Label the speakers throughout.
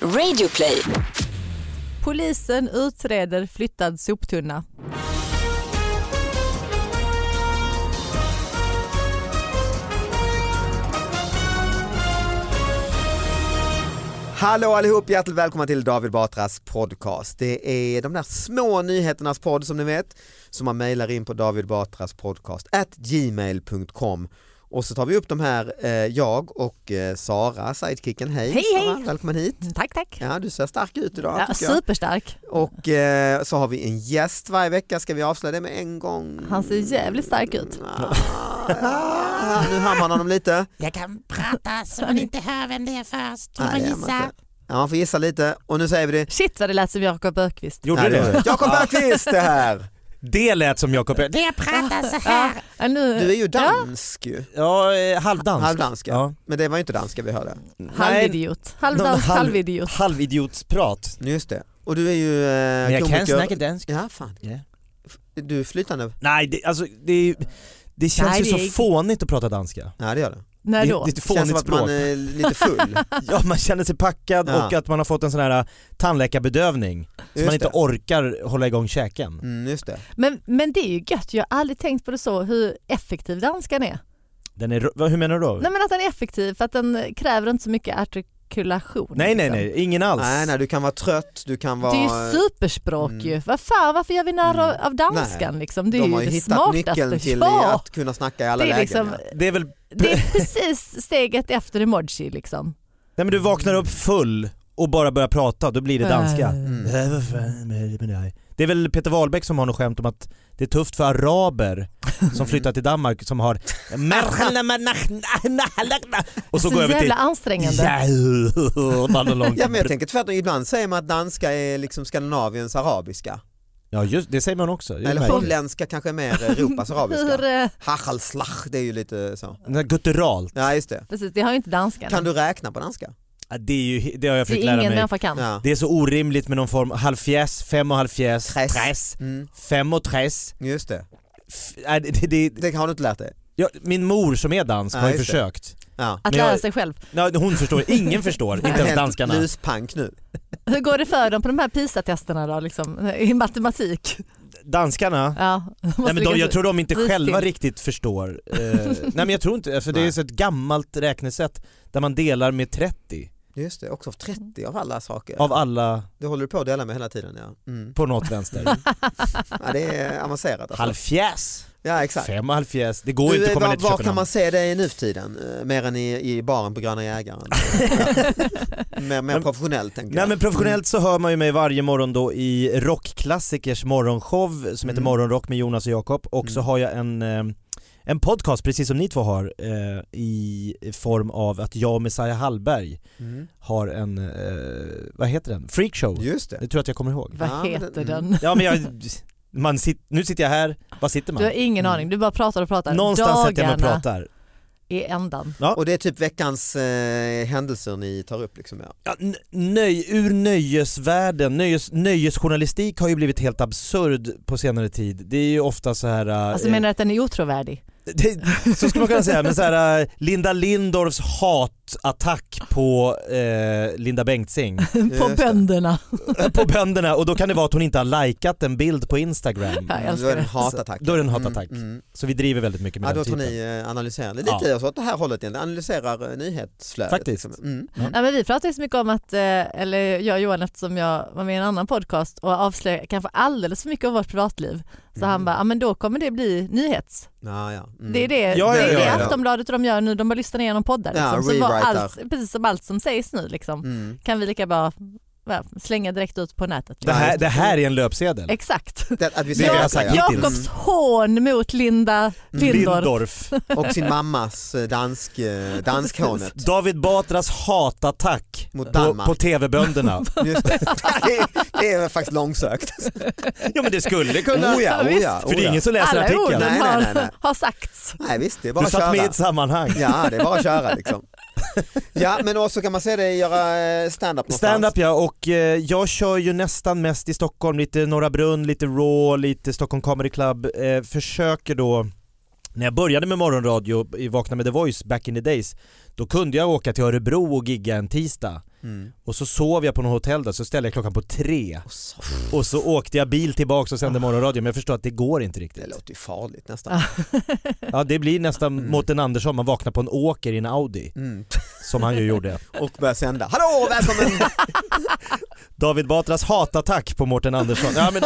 Speaker 1: Radioplay.
Speaker 2: Polisen utreder flyttad soptunna.
Speaker 3: Hallå allihop, hjärtligt välkomna till David Batras podcast. Det är de där små nyheternas podd som ni vet, som man mejlar in på davidbatraspodcast at gmail.com och så tar vi upp de här, eh, jag och eh, Sara, sidekicken. Hej,
Speaker 2: Hej, hej.
Speaker 3: Sara, välkommen hit.
Speaker 2: Mm, Tack, tack.
Speaker 3: Ja, du ser stark ut idag.
Speaker 2: Ja,
Speaker 3: tycker jag.
Speaker 2: superstark.
Speaker 3: Och eh, så har vi en gäst varje vecka, ska vi avslöja det med en gång?
Speaker 2: Han ser jävligt stark ut.
Speaker 3: Ah, ah, nu hör man honom lite.
Speaker 4: Jag kan prata så man inte hör vem det är först. Man
Speaker 3: Nej,
Speaker 4: får
Speaker 3: det gör man
Speaker 4: gissa.
Speaker 3: inte. Ja, man får gissa lite och nu säger vi det.
Speaker 2: Shit vad det lät som Jakob Björkqvist.
Speaker 5: Gjorde
Speaker 3: Nej,
Speaker 5: det?
Speaker 3: det- Jakob Bergqvist det här!
Speaker 5: Det lät som Jakob. Det-
Speaker 4: Jag pratar så
Speaker 2: Ja,
Speaker 4: här.
Speaker 2: ja, nu,
Speaker 3: Du är ju dansk ju.
Speaker 5: Ja, eh, halvdansk.
Speaker 3: Halvdansk, ja.
Speaker 5: Ja.
Speaker 3: Men det var ju inte danska vi hörde.
Speaker 5: Nej,
Speaker 2: halvidiot. Halvdansk
Speaker 5: Halv-
Speaker 2: halvidiot.
Speaker 5: halvidiotsprat.
Speaker 3: Just det. Och du är ju eh,
Speaker 5: Men jag kan
Speaker 3: komiker.
Speaker 5: snacka dansk.
Speaker 3: Ja, fan.
Speaker 5: Ja.
Speaker 3: Du är flytande.
Speaker 5: Nej, det, alltså, det, är ju- det känns
Speaker 2: Nej,
Speaker 5: ju så
Speaker 2: det är-
Speaker 5: fånigt att prata danska.
Speaker 3: Ja, det gör det.
Speaker 2: När
Speaker 5: det,
Speaker 2: då?
Speaker 5: det är
Speaker 3: Känns
Speaker 5: ett
Speaker 3: som
Speaker 5: fånigt
Speaker 3: att man
Speaker 5: språk.
Speaker 3: är lite full.
Speaker 5: Ja, man känner sig packad
Speaker 3: Ja.
Speaker 5: och att man har fått en sån här eh, tandläkarbedövning så
Speaker 3: Just
Speaker 5: man inte
Speaker 3: det.
Speaker 5: orkar hålla igång käken.
Speaker 3: Mm, just det.
Speaker 2: Men, men det är ju gött, jag har aldrig tänkt på det så, hur effektiv danskan är.
Speaker 5: Den är, vad- hur menar du då?
Speaker 2: Nej men att den är effektiv för att den kräver inte så mycket artikulation.
Speaker 5: Nej nej
Speaker 2: liksom.
Speaker 5: nej, ingen alls.
Speaker 3: Nej, nej, du kan vara trött, du kan vara...
Speaker 2: Det är ju superspråk
Speaker 3: Mm.
Speaker 2: ju. Vad fan, varför gör vi narr
Speaker 3: Mm.
Speaker 2: av- av danskan liksom? Det är
Speaker 3: de har
Speaker 2: ju
Speaker 3: ju
Speaker 2: det
Speaker 3: hittat
Speaker 2: smartaste.
Speaker 3: nyckeln till i
Speaker 2: ja,
Speaker 3: att kunna snacka i alla
Speaker 2: det är
Speaker 3: lägen.
Speaker 2: liksom,
Speaker 3: ja.
Speaker 5: Det är väl,
Speaker 2: det är precis steget efter emoji liksom.
Speaker 5: nej men du vaknar upp full och bara börjar prata, då blir det danska.
Speaker 2: Äh.
Speaker 3: Mm.
Speaker 5: Äh, vad fan är det med dig? Det är väl Peter Wahlbeck som har något skämt om att det är tufft för araber som flyttar till Danmark som har och så går jag över till
Speaker 2: jävla ansträngande.
Speaker 3: Ja, men jag tänker tvärtom, ibland säger man att danska är liksom Skandinaviens arabiska.
Speaker 5: Ja just det säger man också. Det är
Speaker 3: Eller
Speaker 5: märkligt.
Speaker 3: holländska kanske är mer Europas
Speaker 2: Hur,
Speaker 3: arabiska.
Speaker 2: eh,
Speaker 3: Hachalslach, det är ju lite så.
Speaker 5: Den där Gutturalt,
Speaker 3: Ja, just det.
Speaker 2: precis, det har ju inte danskan.
Speaker 3: Kan du räkna på danska?
Speaker 5: Ja, det, är ju, det har jag
Speaker 2: det
Speaker 5: försökt
Speaker 2: är
Speaker 5: lära
Speaker 2: ingen
Speaker 5: mig.
Speaker 2: människa kan.
Speaker 3: Ja.
Speaker 5: Det är så orimligt med någon form, halvfjäs, fem och halvfjäs,
Speaker 3: Tres.
Speaker 5: tres,
Speaker 3: Mm,
Speaker 5: fem och tres.
Speaker 3: just det.
Speaker 5: F- nej, det, det, det,
Speaker 3: Det har du inte lärt dig?
Speaker 5: ja, min mor som är dansk
Speaker 3: Ja,
Speaker 5: har ju
Speaker 3: just det.
Speaker 5: försökt.
Speaker 3: Ja.
Speaker 2: Att
Speaker 5: Men jag-
Speaker 2: lära sig själv.
Speaker 5: Nej, hon förstår, ingen förstår, inte ens
Speaker 3: Helt
Speaker 5: danskarna.
Speaker 3: Luspank nu.
Speaker 2: Hur går det för dem på de här PISA-testerna då, liksom, i matematik?
Speaker 5: Danskarna,
Speaker 2: Ja,
Speaker 5: Nej, men de, jag tror de inte
Speaker 2: Vis
Speaker 5: själva
Speaker 2: till.
Speaker 5: riktigt förstår. Eh, nej men jag tror inte, för det
Speaker 3: Nej.
Speaker 5: är så ett gammalt räknesätt där man delar med 30
Speaker 3: Just det, också 30 av alla saker.
Speaker 5: av alla
Speaker 3: Det håller du på att dela med hela tiden ja. Mm.
Speaker 5: på något vänster.
Speaker 3: ja det är avancerat. Alltså.
Speaker 5: Halvfjäs,
Speaker 3: Ja exakt.
Speaker 5: fem och halvfjäs, det går ju
Speaker 3: Du,
Speaker 5: inte att komma
Speaker 3: var,
Speaker 5: ner till
Speaker 3: var kan
Speaker 5: Köpenhamn.
Speaker 3: man se dig nu för tiden? Eh, Mer än i, i baren på Gröna Jägaren? ja. mer, mer
Speaker 5: Men-
Speaker 3: professionellt tänker
Speaker 5: Nej
Speaker 3: jag.
Speaker 5: men professionellt så hör man ju mig varje morgon då i Rockklassikers morgonshow som heter
Speaker 3: Mm.
Speaker 5: Morgonrock med Jonas och Jakob och så
Speaker 3: Mm.
Speaker 5: har jag en, eh, en podcast precis som ni två har eh, i form av att jag och Messiah Hallberg
Speaker 3: Mm.
Speaker 5: har en, eh, vad heter den? Freakshow?
Speaker 3: Just det.
Speaker 5: Det tror jag att jag kommer ihåg.
Speaker 2: Vad
Speaker 3: Ja, men
Speaker 2: heter
Speaker 3: det-
Speaker 2: den?
Speaker 5: Ja Mm. men jag, man sit, nu sitter jag här, var sitter
Speaker 2: Du har
Speaker 5: man?
Speaker 2: ingen aning, du bara pratar och pratar.
Speaker 5: Mm. Någonstans sätter jag mig
Speaker 2: Dagarna
Speaker 5: och pratar.
Speaker 2: i ändan.
Speaker 3: Och det är typ veckans eh, händelser ni tar upp liksom. Ja.
Speaker 5: Ja, n- nöj, ur nöjesvärlden, nöjes, nöjesjournalistik har ju blivit helt absurd på senare tid. Det är ju ofta så här... eh,
Speaker 2: Alltså menar du att den är otrovärdig?
Speaker 5: det, så skulle man kunna säga, men så här, eh, Linda Lindorfs hatattack på eh, Linda Bengtzing,
Speaker 2: På
Speaker 3: Just det.
Speaker 2: bönderna.
Speaker 5: på bönderna och då kan det vara att hon inte har likat en bild på Instagram.
Speaker 2: Ja, jag
Speaker 3: Mm, då är
Speaker 2: älskar
Speaker 3: det en
Speaker 2: det.
Speaker 3: hatattack.
Speaker 5: Då är det en hatattack.
Speaker 3: Mm, mm.
Speaker 5: Så vi driver väldigt mycket med
Speaker 3: Ja,
Speaker 5: den
Speaker 3: då tror
Speaker 5: typen.
Speaker 3: ni eh, analyserar lite
Speaker 5: Ja.
Speaker 3: åt det här hållet igen, analyserar eh, nyhetsflödet.
Speaker 5: Faktiskt.
Speaker 3: Liksom. Mm.
Speaker 2: Nej, men vi pratar ju så mycket om att, eh, eller jag och Johan eftersom jag var med i en annan podcast och avslöjade kanske alldeles för mycket av vårt privatliv. Så
Speaker 3: Mm.
Speaker 2: han bara, ja men då kommer det bli nyhets.
Speaker 3: Ja, ja. Mm.
Speaker 2: Det är det,
Speaker 5: Ja,
Speaker 2: det, är
Speaker 5: ja, ja,
Speaker 2: det
Speaker 5: ja.
Speaker 2: Aftonbladet och de gör nu, de bara lyssnar igenom poddar.
Speaker 3: Ja,
Speaker 2: Liksom. så var
Speaker 3: rewritar.
Speaker 2: allt, precis som allt som sägs nu liksom,
Speaker 3: Mm.
Speaker 2: kan vi lika bra va, slänga direkt ut på nätet. liksom.
Speaker 5: Det här, det här är en löpsedel.
Speaker 2: Exakt.
Speaker 3: Det, att vi
Speaker 5: Det
Speaker 3: säger
Speaker 5: vi har
Speaker 3: detta,
Speaker 5: sagt
Speaker 3: ja.
Speaker 5: hittills.
Speaker 2: Jakobs hån mot Linda Lindorff.
Speaker 5: Lindorff.
Speaker 3: och sin mammas eh, dansk, eh, danskhånet
Speaker 5: David Batras hatattack
Speaker 3: mot
Speaker 5: på,
Speaker 3: Danmark.
Speaker 5: på TV-bönderna.
Speaker 3: Just det. det, är, det är faktiskt långsökt.
Speaker 5: ja men det skulle kunna,
Speaker 3: Oh ja, oh
Speaker 2: visst.
Speaker 3: ja,
Speaker 5: för det är ingen som läser
Speaker 2: Alla orden
Speaker 5: artikeln.
Speaker 3: Nej, nej,
Speaker 2: har,
Speaker 3: nej, nej.
Speaker 2: har sagts.
Speaker 3: Nej visst, det är bara
Speaker 5: Du
Speaker 3: att köra.
Speaker 5: satt med i ett sammanhang.
Speaker 3: Ja, det är bara att köra liksom. Ja, men också kan man säga det, göra eh, stand-up någonstans.
Speaker 5: Stand-up ja, och eh, jag kör ju nästan mest i Stockholm, lite Norra Brunn, lite Raw, lite Stockholm Comedy Club. Eh, försöker då, när jag började med morgonradio i Vakna med The Voice back in the days, då kunde jag åka till Örebro och gigga en tisdag.
Speaker 3: Mm.
Speaker 5: och så sov jag på något hotell där, så ställde jag klockan på tre och så åkte jag bil tillbaks och sände morgonradio men jag förstår att det går inte
Speaker 3: Det
Speaker 5: riktigt.
Speaker 3: låter ju farligt nästan.
Speaker 2: Ja.
Speaker 5: Ah. Ja det blir nästan
Speaker 3: Mm.
Speaker 5: Mårten Andersson, man vaknar på en åker i en Audi
Speaker 3: Mm.
Speaker 5: som han ju gjorde.
Speaker 3: Och börja sända. Hallå, välkommen!
Speaker 5: David Batras hatattack på Mårten Andersson. Ja, men,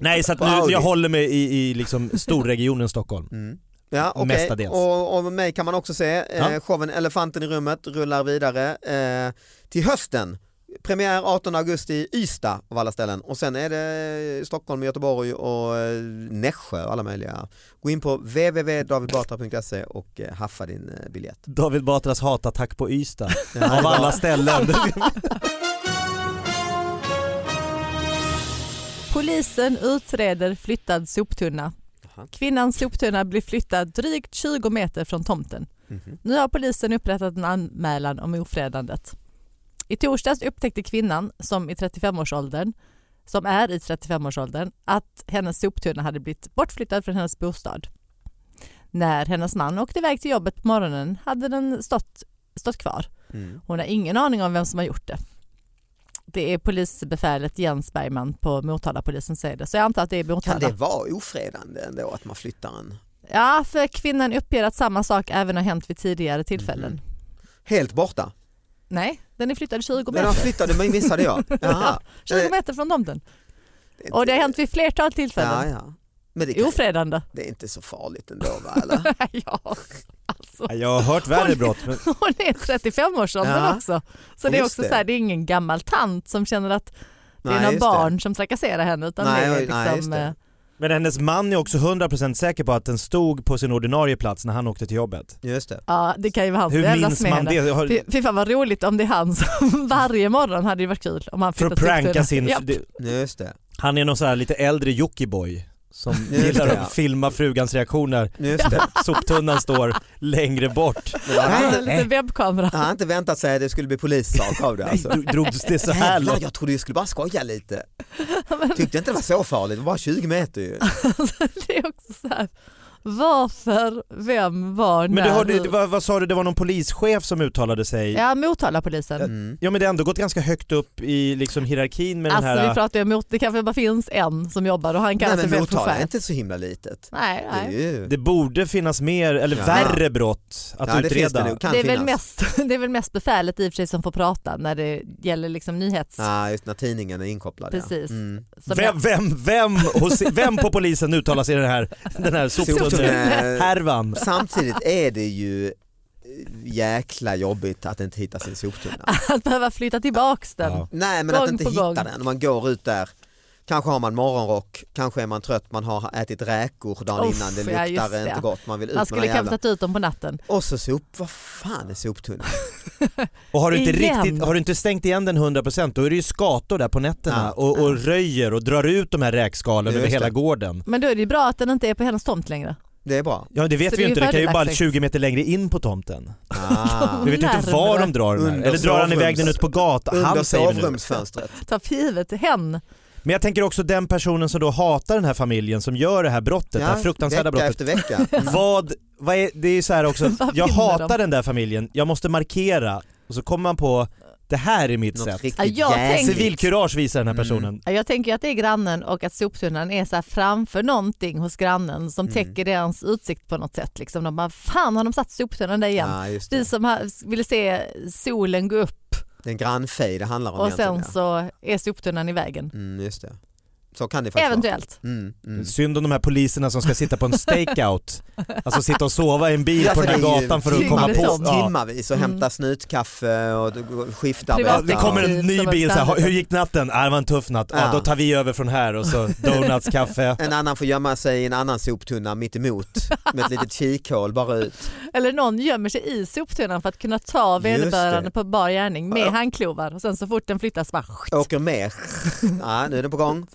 Speaker 5: nej så att
Speaker 3: På
Speaker 5: nu,
Speaker 3: Audi.
Speaker 5: jag håller mig i, i liksom storregionen Stockholm.
Speaker 3: Mm. Ja, okej.
Speaker 5: Mestadels.
Speaker 3: Och, och mig kan man också se. Eh,
Speaker 5: Ja.
Speaker 3: Showen Elefanten i rummet rullar vidare eh, till hösten. Premiär 18 augusti i Ystad av alla ställen och sen är det Stockholm, Göteborg och eh, Nässjö och alla möjliga. Gå in på www.davidbatra.se och eh, haffa din eh, biljett.
Speaker 5: David Batras hatattack på Ystad
Speaker 3: Ja,
Speaker 5: av alla ställen.
Speaker 2: Polisen utreder flyttad soptunna.
Speaker 3: Jaha.
Speaker 2: Kvinnans soptunna blir flyttad drygt 20 meter från tomten.
Speaker 3: Mhm.
Speaker 2: Nu har polisen upprättat en anmälan om ofredandet. I torsdags upptäckte kvinnan, som, i 35-årsåldern, som är i 35-årsåldern, att hennes soptunna hade blivit bortflyttad från hennes bostad. När hennes man åkte iväg till jobbet på morgonen hade den stått, stått kvar.
Speaker 3: Mm.
Speaker 2: Hon har ingen aning om vem som har gjort det. Det är polisbefälet Jens Bergman på Motala polisen säger det. Så jag antar att det är Motala.
Speaker 3: Kan det vara ofredande ändå att man flyttar en?
Speaker 2: Ja, för kvinnan uppger att samma sak även har hänt vid tidigare tillfällen.
Speaker 3: Mhm. Helt borta?
Speaker 2: Nej, den är flyttad 20
Speaker 3: Men de
Speaker 2: meter,
Speaker 3: flyttade, men missade jag. Jaha.
Speaker 2: 20 meter från tomten. Och det har hänt vid flertal
Speaker 3: Eh, Ja,
Speaker 2: tillfällen.
Speaker 3: ja. Men det, kan,
Speaker 2: Ofredande.
Speaker 3: det är inte så farligt ändå va? Eller?
Speaker 2: ja, alltså.
Speaker 5: Jag har hört värre brott men
Speaker 2: Hon är 35-årsåldern
Speaker 3: Ja.
Speaker 2: också. Så det är
Speaker 3: Just
Speaker 2: också
Speaker 3: det.
Speaker 2: så här, det är ingen gammal tant som känner att det är
Speaker 3: Nej,
Speaker 2: någon
Speaker 3: just det.
Speaker 2: barn som trakasserar henne utan
Speaker 3: Nej,
Speaker 2: det är
Speaker 3: oj, nej, just
Speaker 2: liksom,
Speaker 3: det.
Speaker 2: eh,
Speaker 5: Men hennes man är också 100% säker på att den stod på sin ordinarie plats när han åkte till jobbet.
Speaker 3: Just det.
Speaker 2: ja det kan ju vara han som
Speaker 5: Hur
Speaker 2: jävlas
Speaker 5: minns
Speaker 2: med
Speaker 5: man
Speaker 2: henne.
Speaker 5: det? Jag
Speaker 2: Fy,
Speaker 5: Har,
Speaker 2: fy fan vad roligt om det är han som varje morgon hade det varit kul om han
Speaker 5: för att
Speaker 2: flyttat upp
Speaker 5: pranka
Speaker 2: den.
Speaker 5: sin...
Speaker 2: Ja.
Speaker 5: det-
Speaker 3: Just det.
Speaker 5: Han är någon så här lite äldre jockeyboy som
Speaker 3: det,
Speaker 5: gillar
Speaker 3: ja.
Speaker 5: att filma frugans reaktioner.
Speaker 3: Just det.
Speaker 5: Soptunnan står längre bort.
Speaker 3: Men då hade
Speaker 2: Han
Speaker 3: han
Speaker 2: hade
Speaker 3: inte,
Speaker 2: en liten webbkamera.
Speaker 3: han hade inte väntat sig att det skulle bli polissak av det alltså.
Speaker 5: Nej, drogs det så här
Speaker 3: Jävlar,
Speaker 5: långt?
Speaker 3: jag trodde jag skulle bara skoja lite. Tyckte inte det var så farligt, det var bara 20 meter ju.
Speaker 2: Det är också så här, varför, vem, var,
Speaker 5: Men
Speaker 2: när,
Speaker 5: du hörde,
Speaker 2: hur?
Speaker 5: det var- vad sa du, det var någon polischef som uttalade sig?
Speaker 2: Ja, Motalapolisen.
Speaker 3: Mm.
Speaker 5: Ja men det har ändå gått ganska högt upp i liksom hierarkin med
Speaker 2: Alltså
Speaker 5: den
Speaker 2: vi
Speaker 5: här...
Speaker 2: pratar ju om mot, det kanske bara finns en som jobbar och han kallar
Speaker 3: Nej
Speaker 2: sig
Speaker 3: men
Speaker 2: själv för
Speaker 3: Motala är
Speaker 2: chef.
Speaker 3: inte så himla litet.
Speaker 2: Nej,
Speaker 3: Det är
Speaker 2: nej.
Speaker 3: ju...
Speaker 5: Det borde finnas mer, eller
Speaker 3: Ja.
Speaker 5: värre brott att
Speaker 3: Ja, det finns
Speaker 5: utreda.
Speaker 3: det nog, kan
Speaker 2: Det är,
Speaker 3: finnas.
Speaker 2: väl mest, det är väl mest befälet i och för sig som får prata när det gäller liksom nyhets...
Speaker 3: Ja, just när tidningen är inkopplad.
Speaker 2: Precis.
Speaker 3: Ja. Mm.
Speaker 2: som
Speaker 5: Vem,
Speaker 2: jag-
Speaker 5: vem, vem, hos, vem på polisen uttalar sig i den här, den här
Speaker 3: Soptunne.
Speaker 5: soptunnehärvan?
Speaker 3: Samtidigt är det ju eh, jäkla jobbigt att inte hitta sin soptunna.
Speaker 2: Att behöva flytta tillbaks den.
Speaker 5: Ja.
Speaker 3: Nej men
Speaker 2: Gång
Speaker 3: att inte
Speaker 2: på
Speaker 3: hitta
Speaker 2: gång.
Speaker 3: den. Man går ut där, kanske har man morgonrock, kanske är man trött, man har ätit räkor dagen
Speaker 2: Uff,
Speaker 3: innan, det
Speaker 2: ja,
Speaker 3: luktar
Speaker 2: just det.
Speaker 3: inte gott, man vill ut
Speaker 2: Man
Speaker 3: med
Speaker 2: skulle
Speaker 3: den
Speaker 2: kanske
Speaker 3: jävla...
Speaker 2: tagit ut dem på natten.
Speaker 3: Och så sop, vad fan är soptunnan?
Speaker 5: Och har du, inte
Speaker 2: Igen.
Speaker 5: riktigt, har du inte stängt igen den 100% då är det ju skator där på nätterna
Speaker 3: Ja.
Speaker 5: och, och röjer och drar ut de här räkskalen
Speaker 3: Just
Speaker 5: över hela
Speaker 3: det.
Speaker 5: gården.
Speaker 2: Men då är det ju bra att den inte är på hennes tomt längre.
Speaker 3: Det är bra.
Speaker 5: Ja det vet
Speaker 2: Så
Speaker 5: vi
Speaker 2: det är
Speaker 5: ju inte, det kan ju bara
Speaker 2: fördelaktigt.
Speaker 5: 20 meter längre in på tomten.
Speaker 3: Ah.
Speaker 5: Vi vet ju inte
Speaker 2: Närmare.
Speaker 5: var de drar den här.
Speaker 3: Under
Speaker 5: Eller drar han iväg den
Speaker 3: sovrums-
Speaker 5: ut på gatan?
Speaker 3: Under
Speaker 5: Han säger vi nu.
Speaker 3: sovrumsfönstret.
Speaker 2: Ta för givet hen.
Speaker 5: Men jag tänker också den personen som då hatar den här familjen som gör det här brottet, det här fruktansvärda
Speaker 3: vecka
Speaker 5: brottet.
Speaker 3: efter vecka.
Speaker 5: Vad, vad är, det är ju så här också,
Speaker 2: Vad
Speaker 5: jag
Speaker 2: vinner de?
Speaker 5: hatar den där familjen, jag måste markera och så kommer man på det här är mitt
Speaker 3: Något
Speaker 5: sätt.
Speaker 2: Ja,
Speaker 3: riktigt
Speaker 2: jag tänkte-
Speaker 3: jävligt.
Speaker 5: Civilkurage visar den här
Speaker 3: Mm.
Speaker 5: personen.
Speaker 2: Ja, Jag tänker ju att det är grannen och att soptunnan är så här framför någonting hos grannen som
Speaker 3: Mm.
Speaker 2: täcker deras utsikt på något sätt. Liksom de bara, fan har de satt soptunnan där igen?
Speaker 3: Ja, just
Speaker 2: Vi
Speaker 3: det.
Speaker 2: som har, ville se solen gå upp
Speaker 3: det är en grannfej det handlar om
Speaker 2: och
Speaker 3: egentligen,
Speaker 2: sen
Speaker 3: ja.
Speaker 2: så är soptunnan i vägen.
Speaker 3: Mm, just det. Så kan det faktiskt
Speaker 2: Eventuellt.
Speaker 3: vara. Mm, mm.
Speaker 5: Synd om de här poliserna som ska sitta på en stakeout, alltså sitta och sova i en bil
Speaker 3: Ja, alltså,
Speaker 5: på den här
Speaker 3: det är ju
Speaker 5: gatan för att
Speaker 2: timmen
Speaker 5: komma på.
Speaker 2: som
Speaker 5: Ja.
Speaker 3: Timmarvis och
Speaker 2: Mm.
Speaker 3: hämta snutkaffe och skifta.
Speaker 5: Ja,
Speaker 2: Privat-
Speaker 5: det kommer en ny
Speaker 2: Som
Speaker 5: bil
Speaker 2: ett
Speaker 5: så här,
Speaker 2: standard.
Speaker 5: hur gick natten? Ah, det var en tuff natt, ja,
Speaker 3: Ja.
Speaker 5: då tar vi över från här och så donuts, kaffe.
Speaker 3: En annan får gömma sig i en annan soptunna mitt emot med ett litet kikhål bara ut.
Speaker 2: Eller någon gömmer sig i soptunnan för att kunna ta
Speaker 3: Just det.
Speaker 2: vederbörande på bar gärning med
Speaker 3: Ja.
Speaker 2: handklovar och sen så fort den flyttas bara
Speaker 3: Åker med. Ja, nu är den på gång.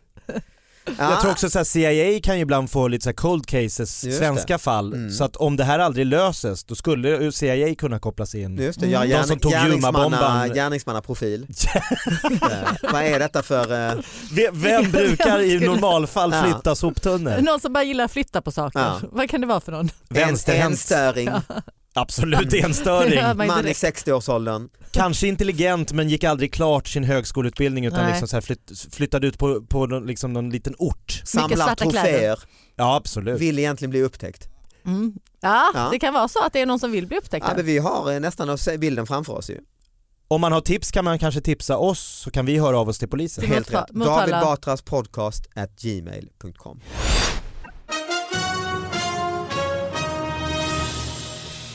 Speaker 3: Ja,
Speaker 5: Jag tror också så här, CIA kan ju ibland få lite så här cold cases,
Speaker 3: Just
Speaker 5: svenska fall,
Speaker 3: Mm.
Speaker 5: så att om det här aldrig löses då skulle ju CIA kunna kopplas in.
Speaker 3: Just det, göra
Speaker 5: Mm. De som
Speaker 3: gärning,
Speaker 5: tog
Speaker 3: gärningsmanna,
Speaker 5: Juma-bomban.
Speaker 3: gärningsmannaprofil. Eh, Vad är detta för... eh,
Speaker 5: Ve- Vem brukar i
Speaker 2: skulle-
Speaker 5: normalfall
Speaker 3: Ja.
Speaker 5: flytta soptunnor?
Speaker 2: Någon som bara gillar att flytta på saker.
Speaker 3: Ja.
Speaker 2: Vad kan det vara för någon?
Speaker 3: En,
Speaker 5: Vänsterhänt.
Speaker 3: enstöring.
Speaker 5: Absolut
Speaker 2: Det
Speaker 5: enstöring.
Speaker 2: hör man ju
Speaker 3: Man i
Speaker 2: direkt.
Speaker 3: 60-årsåldern.
Speaker 5: Kanske intelligent men gick aldrig klart sin högskoleutbildning utan
Speaker 2: Nej.
Speaker 5: liksom så här flytt, flyttade ut på, på någon, liksom någon liten ort.
Speaker 3: Samlar
Speaker 2: svarta kläder.
Speaker 3: troféer.
Speaker 5: Ja absolut.
Speaker 3: Vill egentligen bli upptäckt.
Speaker 2: Mm. Ja,
Speaker 3: Ja.
Speaker 2: det kan vara så att det är någon som vill bli upptäckt.
Speaker 3: Ja,
Speaker 2: här.
Speaker 3: men vi har eh, nästan oss- bilden framför oss ju.
Speaker 5: Om man har tips kan man kanske tipsa oss så kan vi höra av oss till polisen.
Speaker 2: Till
Speaker 3: Helt
Speaker 2: Motala-
Speaker 3: rätt.
Speaker 2: Motala.
Speaker 3: David Batras podcast at gmail.com.